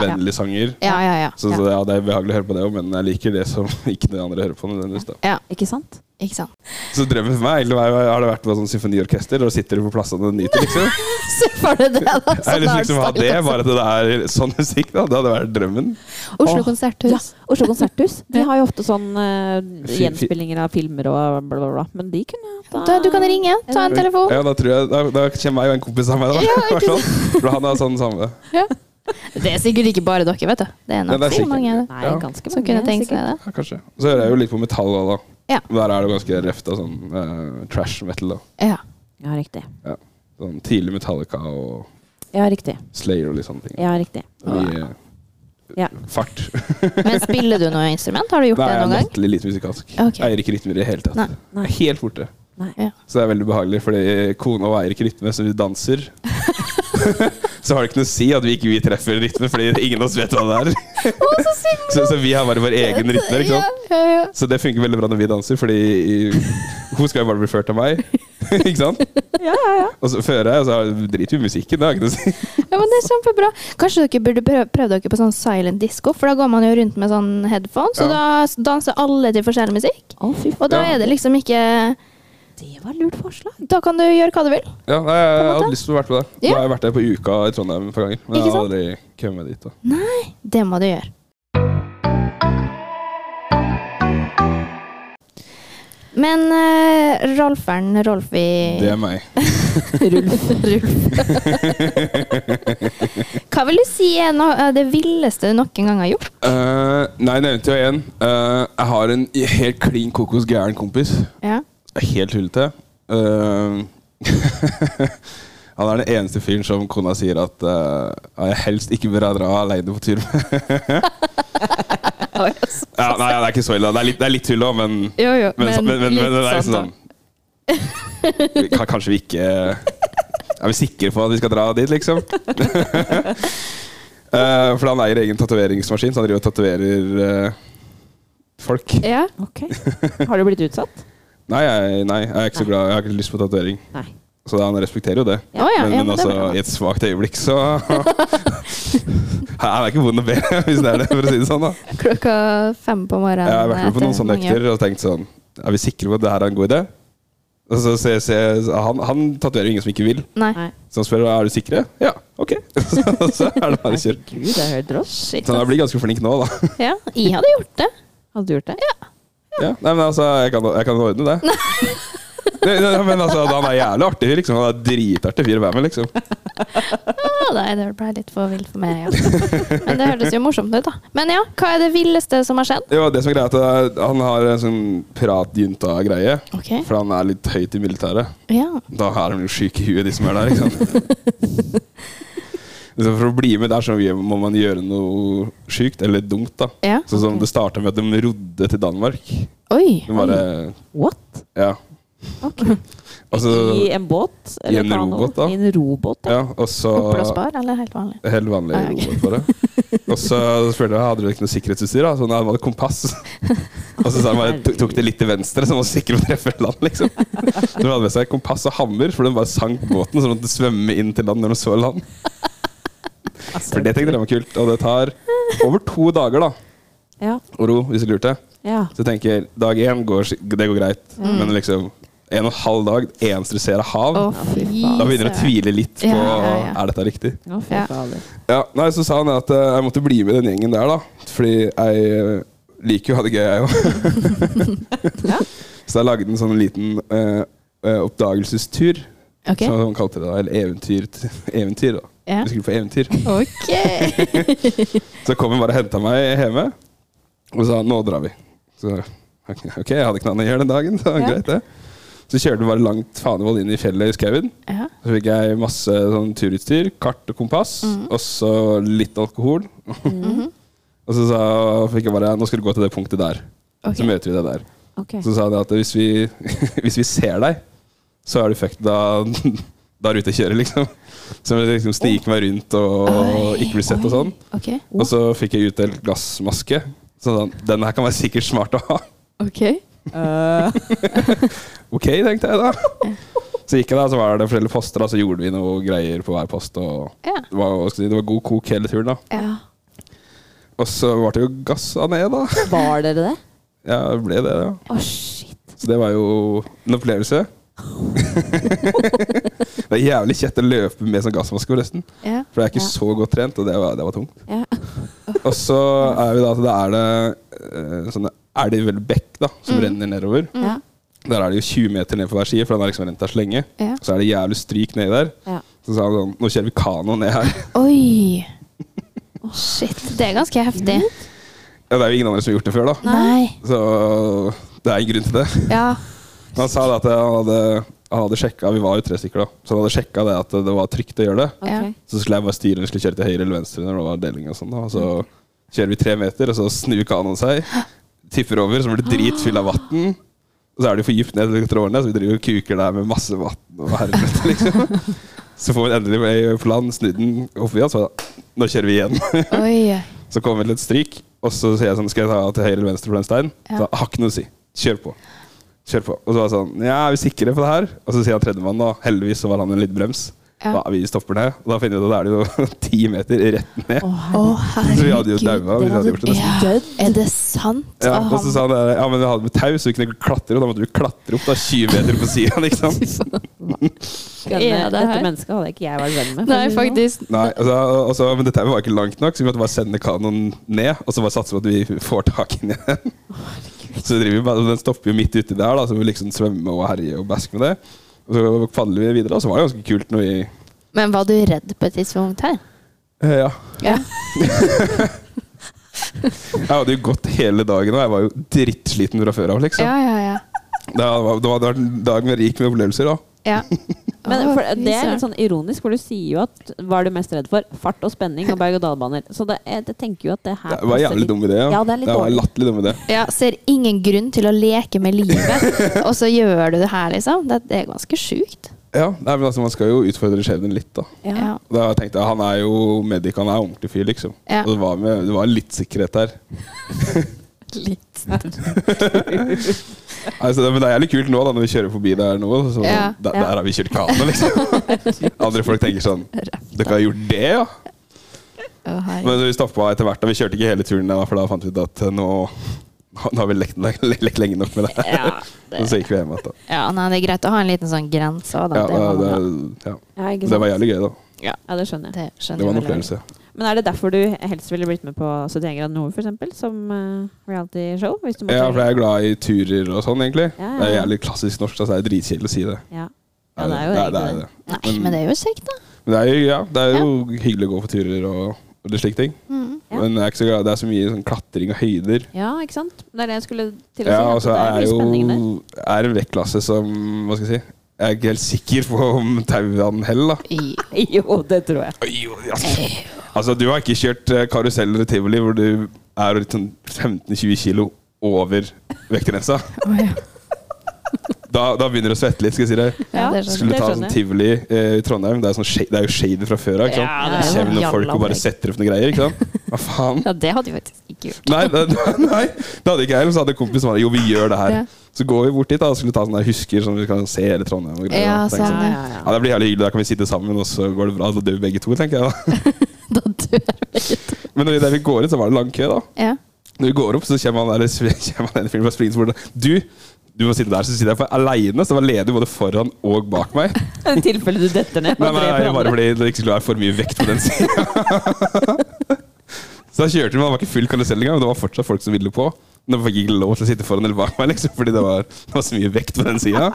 radiovennlige sanger.
Ja, ja, ja.
Så, så det, ja, det er behagelig å høre på det òg, men jeg liker det som ikke de andre hører på. nødvendigvis da.
ja.
Ikke sant?
Ikke sant.
Så drømmen for meg egentlig var- har det vært med sånn symfoniorkester, og da sitter du på plassene og nyter, liksom.
Se for deg det, da.
Jeg har lyst til liksom å ha det, bare at det er sånn musikk. da, Det hadde vært drømmen.
Oslo
Åh. Ja,
Konserthus.
Oslo Konserthus. De har jo ofte sånn eh,
Fi- fi-
gjenspillinger av filmer og bla, bla, bla. Men de kunne hatt
Da, du kan ringe, ta en telefon.
Ja, Da tror jeg, da, da kommer jeg og en kompis av meg. da.
Ja,
Hvert fall. For han har sånn samme.
Det er sikkert ikke bare dere, vet du. Det er
Ja,
nok
det er
så
sikkert.
mange
Nei,
Ja.
ganske mange.
som kunne tenkt seg
sikkert.
det.
Ja, kanskje. Så hører jeg jo litt på metall òg, da.
Ja.
Der er det ganske røft av sånn eh, trash metal. da.
Ja.
Ja, riktig.
Sånn Tidlig Metallica og
Ja, riktig.
Slayer og litt sånne ting.
Ja, riktig.
Mye
Ja.
fart.
Men spiller du noe instrument? Har du gjort
Nei,
det
jeg er
noen gang?
latterlig lite musikalsk.
Ok.
Eier ikke rytmer i det hele tatt.
Nei.
Nei.
Helt borte.
Nei.
Ja.
Så det er veldig ubehagelig, fordi kona og eier ikke rytme, så vi danser. så har det ikke noe å si at vi ikke vi treffer rytme, fordi ingen av oss vet hva det er. så, så vi har bare vår egen rytme. ikke sant?
Ja, ja, ja.
Så det funker veldig bra når vi danser, fordi i- hun skal jo bare bli ført av meg. ikke sant?
Ja, ja, ja.
Og så fører jeg, og så driter vi i musikken. Det har ikke noe å si.
Ja, men det er kjempebra. Kanskje dere burde prøve, prøve dere på sånn silent disco, for da går man jo rundt med sånn headphones, og da danser alle til forskjellig musikk.
Å, fy
Og da
Ja.
er det liksom ikke
Det var et lurt forslag.
Da kan du gjøre hva du vil.
Ja, nei, jeg,
På en måte.
hadde lyst til å være på det.
Ja.
Nå har jeg vært der på uka i Trondheim et par ganger, men jeg
Ikke
har
sant?
aldri kommet dit. da.
Det må du gjøre. Men uh, Rolferen, Rolfi
Det er meg.
Rulf.
Hva vil du si er no eh, det villeste du noen gang har gjort?
Eh, nei, nevnte jo igjen. Eh, jeg har en helt klin kokos gæren kompis.
Ja.
Helt hullete. Eh, han er den eneste fyren som kona sier at eh, jeg helst ikke bør dra alene på tur med.
altså.
ja, nei, det er ikke så ille. Det er litt, det er litt tull òg, men
Jo, jo,
men, så- men, men, men, det er
litt
sånn Vi kan- Kanskje vi ikke Er vi sikre på at vi skal dra dit, liksom? Eh, for han eier egen tatoveringsmaskin, så han driver og tatoverer eh, folk.
Ja.
Ok. Har du blitt utsatt?
Nei, jeg, nei, jeg er ikke så glad. Jeg har ikke lyst på tatovering.
Nei.
Så han respekterer jo det.
Å ja. ja,
Men, men
det er
altså,
bra.
i et svakt øyeblikk, så Han er ikke vond å be, hvis det er det, for å si det sånn. da
Klokka fem på morgenen. eh,
Jeg har vært med på noen
etter
sånne
mange-
økter og tenkt sånn Er vi sikre på at det her er en god idé? Og så ser ser- han, han tatoverer jo ingen som ikke vil.
Nei.
Nei.
Så han spør er du sikre. Ja, ok. Så, så er det bare å kjøre.
Herregud, jeg hører dross.
Shit.
Så han blir ganske flink nå, da.
Ja, jeg hadde gjort det.
Hadde du gjort det?
Ja. Nei, men altså, jeg kan, jeg kan ordne det. Nei, nei, men altså, Han er jævlig artig fyr. liksom. Han er dritartig fyr å være med, liksom.
Å, nei, det ble litt for vilt for meg. Ja. Men det hørtes jo morsomt ut, da. Men ja, hva er det villeste som har skjedd?
Det var det som er greia, at det er- han har en sånn piratjunta-greie.
Ok.
For han er litt høyt i militæret.
Ja.
Da er de jo syke i huet, de som er der. Ikke sant? Så for å bli med der, så må man gjøre noe sykt eller dumt. da.
ja.
Sånn som Det starta med at de rodde til Danmark.
Oi.
De bare,
What?
ja. Og så,
I en båt? eller
I en
kano?
robåt, da.
I en robåt, ja.
ja, og så
Oppblåsbar eller helt vanlig?
Helt vanlig
Ah, ok.
robot bare. Og så spurte jeg hadde du ikke noe sikkerhetsutstyr. da? Så nei, de hadde kompass. Og så sa han bare, tok, tok det litt til venstre, så man var sikker på å treffe land. liksom. Så de hadde med seg kompass og hammer, for de bare sank båten sånn så de måtte svømme inn til land når de så land.
Altså.
For det tenkte jeg var kult. Og det tar over to dager da,
Ja.
å ro, hvis du lurte.
ja.
Så jeg tenker, dag én går, sk- det går greit, men liksom en og en halv dag, det eneste du ser er hav.
Mm. Å,
fy
fy
faen.
Da begynner du å
søren.
tvile litt på
Ja, ja, ja.
er dette riktig.
Å, fy
Ja.
fader.
Ja, nei, Så sa han at eh, jeg måtte bli med den gjengen der, da. Fordi jeg eh, liker jo å ha det gøy, jeg òg.
Ja.
Så jeg lagde en sånn liten eh, eh, oppdagelsestur,
Ok.
som han kalte det. da, Eller eventyr. t- eventyr da.
Ja.
Vi skulle på eventyr.
Ok.
Så kom han bare og henta meg hjemme, og sa 'nå drar vi'. Så ok, jeg hadde ikke noe annet å gjøre den dagen, så
Ja.
greit det. Så kjørte vi bare langt fanevoll inn i fjellet i skauen.
Ja.
Så fikk jeg masse sånn turutstyr, kart og kompass, og så litt alkohol. og så sa, fikk jeg bare Nå skal du gå til det punktet der.
Ok.
Så møter vi deg der.
Ok.
Så sa han at hvis vi, hvis vi ser deg, så er du fucked. Da, da er du ute å kjøre, liksom. Så jeg liksom snike meg rundt og ikke bli sett og sånn.
Ok.
Og så fikk jeg utdelt glassmaske. Så sa han den her kan være sikkert smart å ha.
Ok. Eh,
Ok, tenkte jeg da. Så gikk jeg da, så var det forskjellige poster, da, så gjorde vi noe greier på hver post. Og
Ja.
det, var, hva skal jeg si, det var god kok hele turen, da.
Ja.
Og så ble det jo gassa ned, da.
Var dere det?
Ja, det ble det, ja.
Å, shit.
Så det var jo en opplevelse. det er jævlig kjett å løpe med sånn gassmaske, forresten.
Ja.
For jeg er ikke
Ja.
så godt trent, og det var, det var tungt.
Ja.
Og så er vi da at det er det eh, sånne elv eller bekk da,
Mm.
som renner nedover.
Mm.
Ja.
Der er det jo 20 meter ned på hver side, for den har liksom rent der så lenge.
Ja.
Så er det jævlig stryk nedi der.
Ja.
Så sa han sånn Nå kjører vi kano ned her.
Oi. Å, shit. Det er ganske heftig.
Ja, det er jo ingen andre som har gjort det før, da.
Nei.
Så det er en grunn til det.
Ja.
Men han sa da at han hadde, han hadde sjekka Vi var jo tre stykker, da. Så han hadde sjekka det at det var trygt å gjøre det.
Ok.
Ja.
Så skulle jeg bare styre om vi skulle kjøre til høyre eller venstre når det var deling og sånn. da. Og så kjører vi tre meter, og så snur kanoen seg, tipper over, så blir det dritfull av vann. Og så er det jo for dypt ned til trådene, så vi driver og kuker der med masse vann og helvete, liksom. Så får vi endelig vei på land, snudd den opp igjen, så nå kjører vi igjen.
Oi.
Så kommer vi til et stryk, og så sier jeg sånn Skal jeg ta til høyre eller venstre for den steinen?
Ja.
Så han, har ikke noe å si. Kjør på. Kjør på. Og så var jeg sånn Ja, er vi sikre på det her? Og så sier han tredjemann, da. Heldigvis så var han en lydbrems.
Ja.
Da, vi stopper ned. Og da finner vi ut at det er jo ti meter rett ned.
Å,
så vi hadde jo
herregud.
daua hvis vi hadde gjort det.
Ja. Er det sant?
Ja,
Å,
og så
han-
sa han der, ja, men vi hadde med tau, så vi kunne klatre. Og da måtte vi klatre opp da 20 meter på liksom. sida, ikke sant.
Denne,
Er det
dette
her?
mennesket hadde ikke jeg vært venn med. for å si det
Nei,
sånn.
faktisk.
Nei, og så, og så, men det tauet var ikke langt nok, så vi måtte bare sende kanoen ned. Og så bare satse på at vi får tak i den igjen. Så driver vi bare, Den stopper jo midt uti der, da, så vi liksom svømmer og herjer og basker med det. Og så padler vi videre, og så var det ganske kult når vi
Men var du redd på et tidspunkt her?
Eh, Ja.
Ja.
Jeg hadde jo gått hele dagen, og jeg var jo drittsliten fra før av, liksom.
Ja, ja, ja.
Det var, det var det var en dag med rik med opplevelser, da.
ja.
Men
Å,
for, det er
fy søren.
litt sånn ironisk, for du sier jo at hva er du mest redd for? Fart og spenning og berg-og-dal-baner. Så det, jeg, jeg tenker jo at det her
Det var en jævlig dum idé.
Ja, det er litt
det var en
dårlig.
latterlig dum idé.
Ja, ser ingen grunn til å leke med livet, og så gjør du det her, liksom. Det, det er ganske sjukt.
Ja, nei, men altså, man skal jo utfordre skjebnen litt, da.
Ja.
Ja.
Da tenkte jeg, Han er jo medic, han er ordentlig fyr, liksom.
Ja.
Og det var, med, det var litt sikkerhet der.
Litt.
Altså, det, men det er jævlig kult nå, da, når vi kjører forbi der nå. Så,
Ja.
der,
Ja.
der har vi kjørt kano, liksom. Andre folk tenker sånn Dere har gjort det, ja?
Å, herregud.
Men vi stoppa etter hvert. da Vi kjørte ikke hele turen, da, for da fant vi ut at eh, nå, nå har vi lekt, lekt lenge nok med det her.
Ja, det,
Så gikk vi hjem igjen. da.
Ja, nei, det er greit å ha en liten sånn grense òg, da.
Ja,
det, må
det,
man ha.
ja.
ja, ikke
Så det
sant?
var jævlig gøy, da.
Ja, det skjønner jeg.
det skjønner
Det var en
jeg vel.
opplevelse.
Men er det derfor du helst ville blitt med på 71 grader nord, f.eks.? Som eh, reality-show? Hvis du måtte
Ja, for jeg er glad i turer og sånn, egentlig.
Ja, ja.
Det er jævlig klassisk norsk, altså det er dritkjedelig å si det.
Ja. Ja, det er jo
det
egentlig
er
det.
Nei, men det er jo kjekt, da.
Men det er jo, ja, det er jo hyggelig å gå på turer og, og det slike ting.
Mm.
Ja.
Men jeg er ikke så glad, det er så mye sånn klatring og høyder.
ja, ikke sant? Det er det jeg skulle til å si.
Ja,
at
og så
det
er jeg
litt spenning der.
jo er en vektklasse som Hva skal jeg si? Jeg er ikke helt sikker på om tauene heller, da.
I-
Jo, det tror jeg.
Oi, jo, Altså, altså, du har ikke kjørt eh, karusell eller tivoli hvor du er litt sånn 15-20 kilo over vektgrensa. Da, da begynner du å svette litt, skal jeg si deg.
Ja, det
Skulle
det
ta sånn
skjønner jeg.
tivoli eh, i Trondheim. Det er, sånn shade, det er jo shade fra før av. ikke sant?
Ja,
det er
det
jo
kommer noen folk og bare
jalla
setter opp noen greier. ikke sant? Hva faen?
Ja, det hadde vi faktisk ikke gjort.
Nei, det, nei, det hadde ikke jeg heller. Så hadde en kompis som hadde jo, vi gjør det her.
Ja.
Så går vi bort dit da, og skulle ta sånne husker som vi kan se hele Trondheim. og greier.
Ja,
da. Tenk
sånn,
sånn,
Ja, ja,
ja, Det blir jævlig hyggelig, da kan vi sitte sammen, og så går det bra. Da dør vi begge to, tenker jeg. da.
Da dør vi.
Men når vi- der vi går ut, så var det lang kø. da.
Ja.
Når vi går opp, så kommer han der, kommer han ene fyren fra Springs bort og Du, du må sitte der. Så sitter jeg for aleine, så det var ledig både foran og bak meg.
I tilfelle du detter ned
Nei,
og
nei, nei,
dreper andre.
bare fordi det ikke skulle være for mye vekt på den sida. så da kjørte vi, men det var ikke full karusell engang, og det var fortsatt folk som ville på. Men de fikk ikke lov til å sitte foran eller bak meg, liksom, fordi det var, det var så mye vekt på den sida.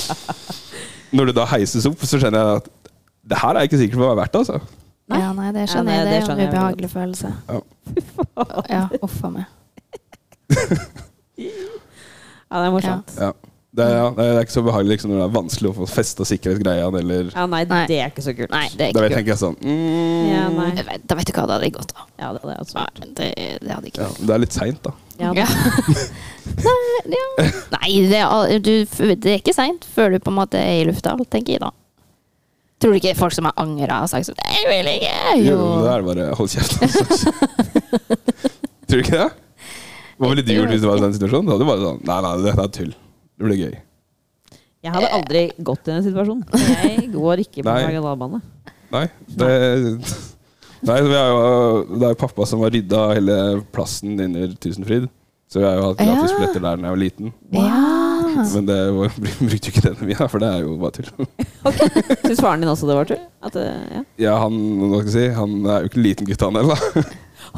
Når du da heises opp, så skjønner jeg at det her er jeg ikke sikker på hva det er verdt, altså.
Nei.
ja, nei, det
Ja,
skjønner
nei,
jeg. Det
det
er
skjønner
en
jeg veldig
ubehagelig følelse.
Ja.
Ja, uff a meg.
Ja, det er morsomt.
Ja. Det er, ja, det er ikke så behagelig liksom, når det er vanskelig å få festa sikkerhetsgreiene, eller
Ja, nei,
Nei.
det er ikke så kult.
Nei, det er
Da
ikke
vet jeg
kult.
tenker jeg sånn mm,
Ja, nei.
Jeg vet- Da vet du hva, da hadde jeg gått av.
Ja, det, det er også
Nei,
svært.
Det, det hadde ikke
ja,
vært
Det er litt seint, da.
Ja,
Ja. Nei, ja. Nei det, er, al- du, det er ikke seint før du på en måte er i lufta, tenker jeg da. Tror du ikke folk som har angra og sagt sånn Jeg vil ikke!
Jo.
Jo.
men Da er det bare hold kjeft. altså. Tror du ikke det? Hva ville du gjort hvis du var i den situasjonen? Da hadde du bare sånn Nei, nei, dette er tull. Det blir gøy.
Jeg hadde aldri gått i den situasjonen. Jeg går ikke på
Nei.
Magalabane.
Nei, det Nei, vi er jo, det er jo pappa som har rydda hele plassen under Tusenfryd. Så vi har jo hatt gratis
Ja.
billetter der da jeg var liten.
Ja.
Men det var, brukte jo ikke det når vi er, for det er jo bare tull.
Syns faren din også det var tull? At, eh, ja.
Ja, han, hva skal jeg si, han er jo ikke en liten gutt, han heller. da.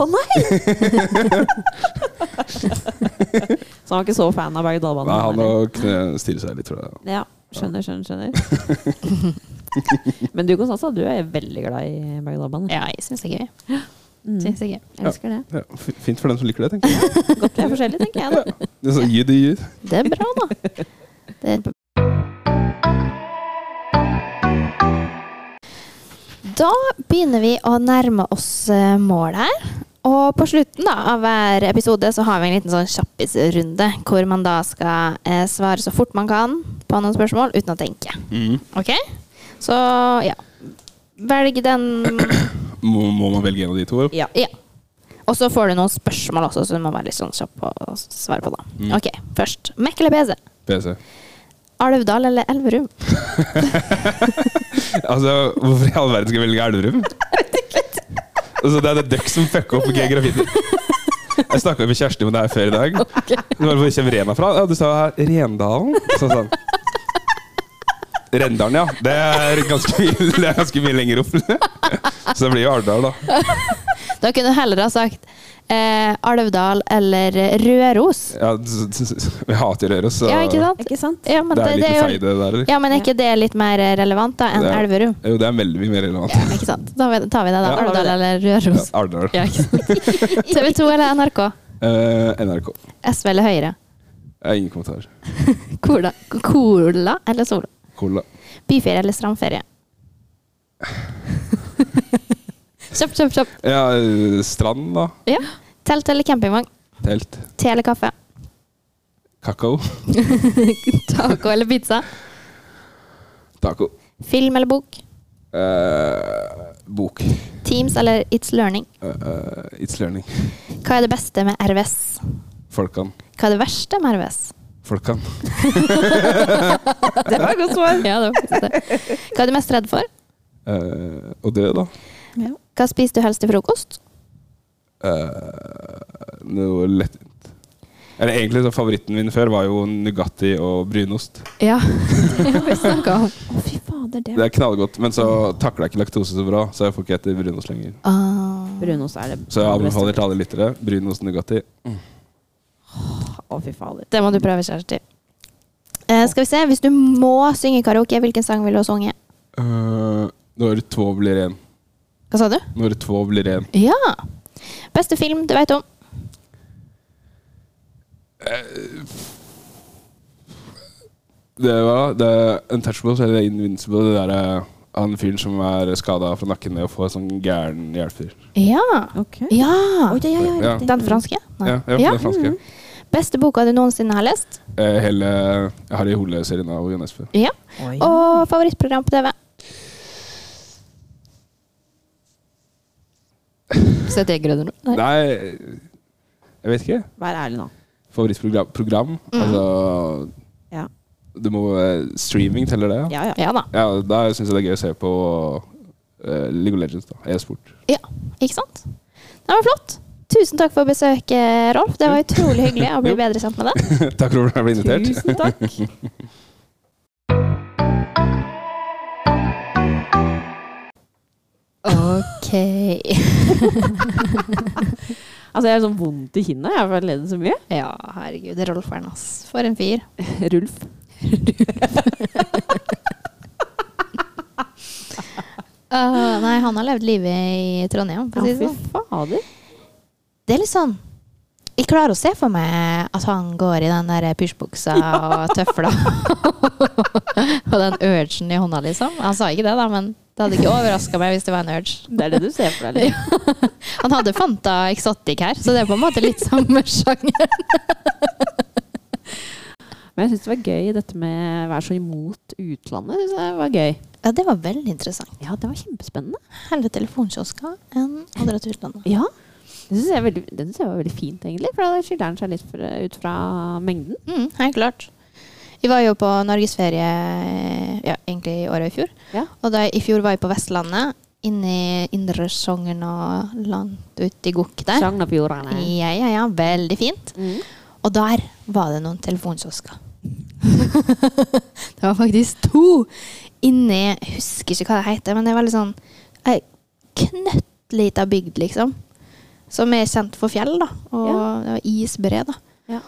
Å nei! så han var ikke så fan av Berg-og-Dal-banen?
Nei, han må kne- stirre seg litt, tror jeg.
Ja, skjønner, skjønner, skjønner. Men du Konstanza, du er veldig glad i Berg-og-Dal-banen.
ja, jeg syns det er gøy.
Mm.
Syns det er gøy.
Jeg elsker det.
Ja, f- fint for dem som liker det, tenker jeg.
Godt vi er forskjellige, tenker jeg. da.
Det er sånn, you do you.
Det er bra, da. Det er da begynner vi å nærme oss eh, målet her. Og på slutten da, av hver episode så har vi en liten sånn kjappisrunde, hvor man da skal eh, svare så fort man kan på noen spørsmål uten å tenke. Ok? Så ja. Velg den
Må, må man velge en av de to?
Ja.
Ja. Og så får du noen spørsmål også, så du må være litt sånn kjapp på å svare på, da.
Mm.
Ok, først. Mac eller PC?
PC.
Alvdal eller Elverum?
Altså, hvorfor i all verden skal jeg velge Elverum? Altså, det er det dere som fucker opp geografien. Jeg snakka med Kjersti om det her før i dag. Hun bare, Hvor kommer Rena fra? Ja, du sa her Rendalen. Så sånn. Rendalen, ja. Det er ganske mye, det er ganske mye lenger opp. Så det blir jo Arendal, da.
Da kunne du heller ha sagt eh, Alvdal eller Røros.
Ja, s- s- s- vi hater Røros, så
Ja, ikke sant?
Ikke sant?
Ja, men
det er litt
jo-
feil, det der. eller?
Ja, men er ikke det litt mer relevant da enn
Det er-
Elverum?
Jo, det er veldig mye mer relevant.
Ja, ikke sant? Da vet- tar vi det, da.
Ja, da
Alvdal
tar
eller
Ja,
Røros.
Arendal.
Ja, ikke sant? TV 2 eller NRK?
Eh, NRK.
SV eller Høyre?
Jeg har ingen kommentar.
Cola, cola eller Solo?
Cola.
Byferie eller strandferie? Kjapt, kjapt, kjapt.
Ja, eh, strand, da.
Ja. Telt eller campingvogn?
Telt.
Te eller kaffe?
Kakao.
Taco eller pizza?
Taco.
Film eller bok?
Eh, bok.
Teams eller It's Learning?
Eh, it's learning.
Hva er det beste med RVS?
Folkan.
Hva er det verste med RVS?
Folkan.
Det var et godt svar. Ja, det var faktisk det. Hva er du mest redd for?
Eh, og dø, da.
Hva spiser du helst til frokost?
Eh, noe lett Eller egentlig så favoritten min før var jo Nugatti og brunost.
Ja, det har vi snakka om.
Å, fy fader, det
Det er knallgodt, men så takler jeg ikke laktose så bra, så jeg får ikke etter brunost lenger.
Ah.
Brunost er det
Så jeg anbefaler
beste.
til alle lyttere brunost Nugatti.
Å, fy fader.
det må du prøve, kjæreste. Eh, skal vi se, Hvis du må synge karaoke, hvilken sang vil du ha sunget?
Eh, når två blir én.
Hva sa du?
Når två blir én.
Ja. Beste film du veit om?
Det var det er Untouchables eller Invincible. Det der eh, han fyren som er skada fra nakken og får sånn gæren hjelper.
Ja.
Ok.
ja.
Oi, ja, ja, ja,
Ja.
riktig.
Den franske? Nei.
Ja, ja,
Ja.
Den franske.
Beste boka du noensinne har lest?
Eh, hele Harry Hole-serien av Jon Espe.
Ja.
Oi.
Og favorittprogram på TV? 71 grader nå. Nei.
Nei, jeg vet ikke.
Vær ærlig nå.
Favorittprogram? Program? Altså
Ja.
Du må eh, Streaming teller det? Ja,
Ja, ja.
Ja da.
ja da syns jeg det er gøy å se på eh, League of Legends, da. E-sport.
Ja, ikke sant? Det var flott. Tusen takk for besøket, Rolf. Det var utrolig hyggelig å bli
Jo.
bedre kjent med deg.
Takk for at jeg ble invitert.
Tusen takk.
Ok.
Altså, jeg har sånn vondt i kinnet. Jeg har vært ledd så mye.
Ja, herregud. Rolf er ass. For en fyr.
Rulf.
Ah, nei, han har levd livet i Trondheim, for å si det
fy
sånn.
fader.
Det er litt sånn Jeg klarer å se for meg at han går i den der pysjbuksa og tøfla. og den urgen i hånda, liksom. Han sa ikke det, da, men det hadde ikke overraska meg hvis det var en urge.
Det er det du ser for deg? liksom. Eller?
Han hadde Fanta Exotic her, så det er på en måte litt samme sjanger.
Men jeg syns det var gøy dette med å være så imot utlandet. Synes jeg var gøy.
Ja, det var veldig interessant.
Ja, det var kjempespennende.
Heller telefonkiosker enn å dra til utlandet.
Ja. Det syns jeg, er veldig- det synes jeg var veldig fint, egentlig. For da skiller den seg litt fra- ut fra mengden.
Mm, helt klart. Vi var jo på norgesferie eh, ja, egentlig i året i fjor.
Ja.
Og da, i fjor var jeg på Vestlandet, inne i Indre Sogn og langt ute i Gokk der.
Sognefjordane.
Ja, ja, ja, veldig fint.
Mm.
Og der var det noen telefonkiosker. det var faktisk to inni Jeg husker ikke hva det heter, men det er veldig sånn ei knøttlita bygd, liksom. Som er kjent for fjell, da. Og
Ja.
det var isbre, da.
Ja.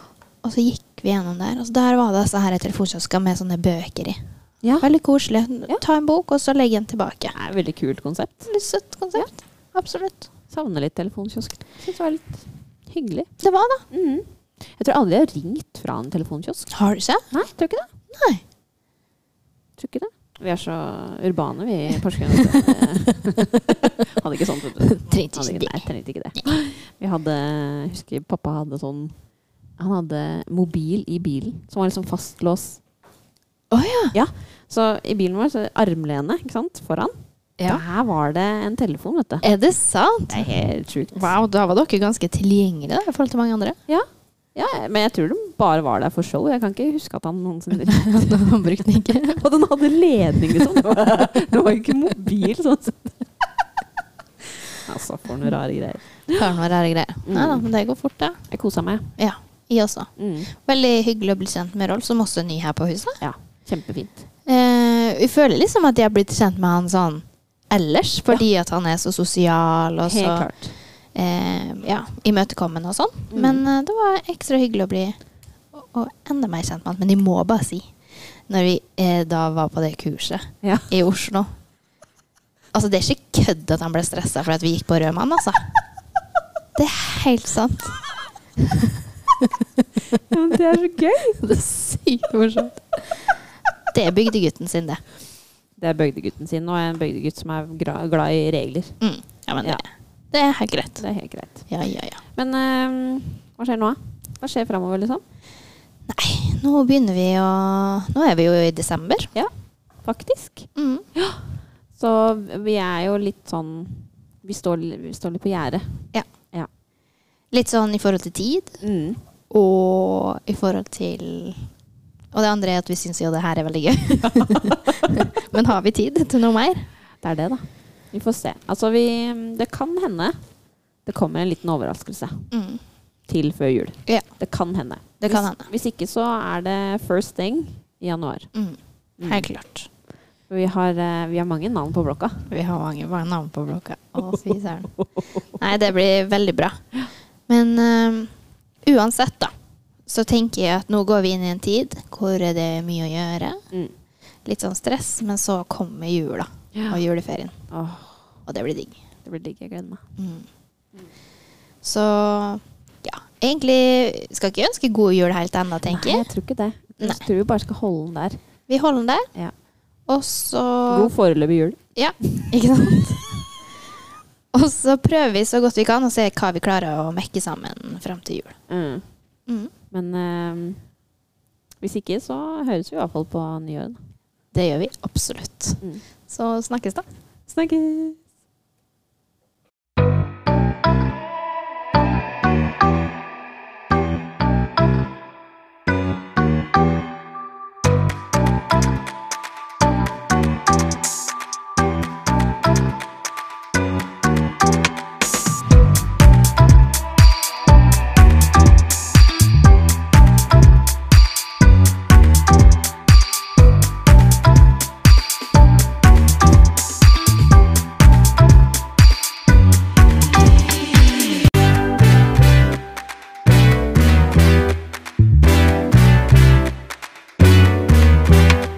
Og så gikk vi gjennom der, og så der var det disse her telefonkiosker med sånne bøker i.
Ja.
Veldig koselig.
Ja.
Ta en bok, og så legg den tilbake.
Det er et veldig kult konsept.
Litt søtt konsept. Absolutt.
Savner litt telefonkiosk. Syns det var litt hyggelig.
Det var det.
Mm. Jeg tror aldri jeg har ringt fra en telefonkiosk.
Har du ikke?
Nei, tror ikke det.
Nei.
Tror ikke det. Vi er så urbane, vi i Porsgrunn. Hadde ikke sånt, vet du.
Trengte
Hadde
ikke
ikke,
det.
nei, trengte ikke det. Vi hadde jeg Husker pappa hadde sånn Han hadde mobil i bilen, som var liksom fastlåst.
Å ja.
Så i bilen vår så er det armlene, ikke sant, foran. Der var det en telefon, vet du.
Er det sant?
Det er helt sjukt.
Wow, da var dere ganske tilgjengelige da, i forhold til mange andre.
Ja, men jeg tror de bare var der for show. Jeg kan ikke huske at han noensinne
Han brukte den ikke.
Og den hadde ledning, liksom. Det var, det var jo ikke mobil, sånn sett. Altså, for noen rare greier.
Har noen rare greier.
Mm.
Nei da, men det går fort, det.
Jeg kosa meg.
Ja. Jeg også.
Mm.
Veldig hyggelig å bli kjent med Rolf, som også er ny her på huset.
Ja, kjempefint.
Eh, vi føler liksom at jeg har blitt kjent med han sånn ellers, fordi at han er så sosial og
Helt
så
klart.
eh, ja, imøtekommende og sånn.
Mm.
Men eh, det var ekstra hyggelig å bli og, og enda mer kjent med han. Men jeg må bare si, når vi eh, da var på det kurset
Ja.
i Oslo Altså, det er ikke kødd at han ble stressa fordi at vi gikk på rød mann, altså. Det er helt sant.
Men det er så gøy!
Det er sykt morsomt. Det er bygdegutten sin, det.
Det er bygdegutten sin, og jeg er en bygdegutt som er gra glad i regler.
Mm. Ja, men
Ja.
det, det er helt greit.
Det er helt greit.
Ja, ja, ja.
Men eh, hva skjer nå, da? Hva skjer framover, liksom?
Nå begynner vi å Nå er vi jo i desember.
Faktisk.
Mm.
Så vi er jo litt sånn Vi står, vi står litt på gjerdet.
Litt sånn i forhold til tid,
Mm.
og i forhold til Og det andre er at vi syns jo det her er veldig gøy. Men har vi tid til noe mer?
Det er det, da. Vi får se. Altså, vi Det kan hende det kommer en liten overraskelse
Mm.
til før jul.
Ja.
Det kan hende.
Det kan
hvis,
hende.
Hvis ikke, så er det first thing i januar.
Mm.
Mm.
Helt klart.
Vi har, eh, vi har mange navn på blokka.
Vi har mange bare navn på blokka. Å, fy søren. Nei, det blir veldig bra. Men øhm, uansett, da, så tenker jeg at nå går vi inn i en tid hvor det er mye å gjøre.
Mm.
Litt sånn stress, men så kommer jula og juleferien.
Åh,
Og det blir digg.
det blir digg. Jeg gleder meg.
Mm. Så ja, egentlig skal ikke ønske god jul helt ennå, tenker
Nei,
jeg.
jeg tror ikke det. Jeg
Nei.
tror vi bare skal holde den der.
Vi holder den der.
Ja.
Og så
God foreløpig jul.
Ja, ikke sant? Og så prøver vi så godt vi kan å se hva vi klarer å mekke sammen fram til jul.
Mm.
Mm.
Men eh, hvis ikke, så høres vi i hvert fall på nyåret. da.
Det gjør vi absolutt.
Mm.
Så snakkes, da.
Snakkes!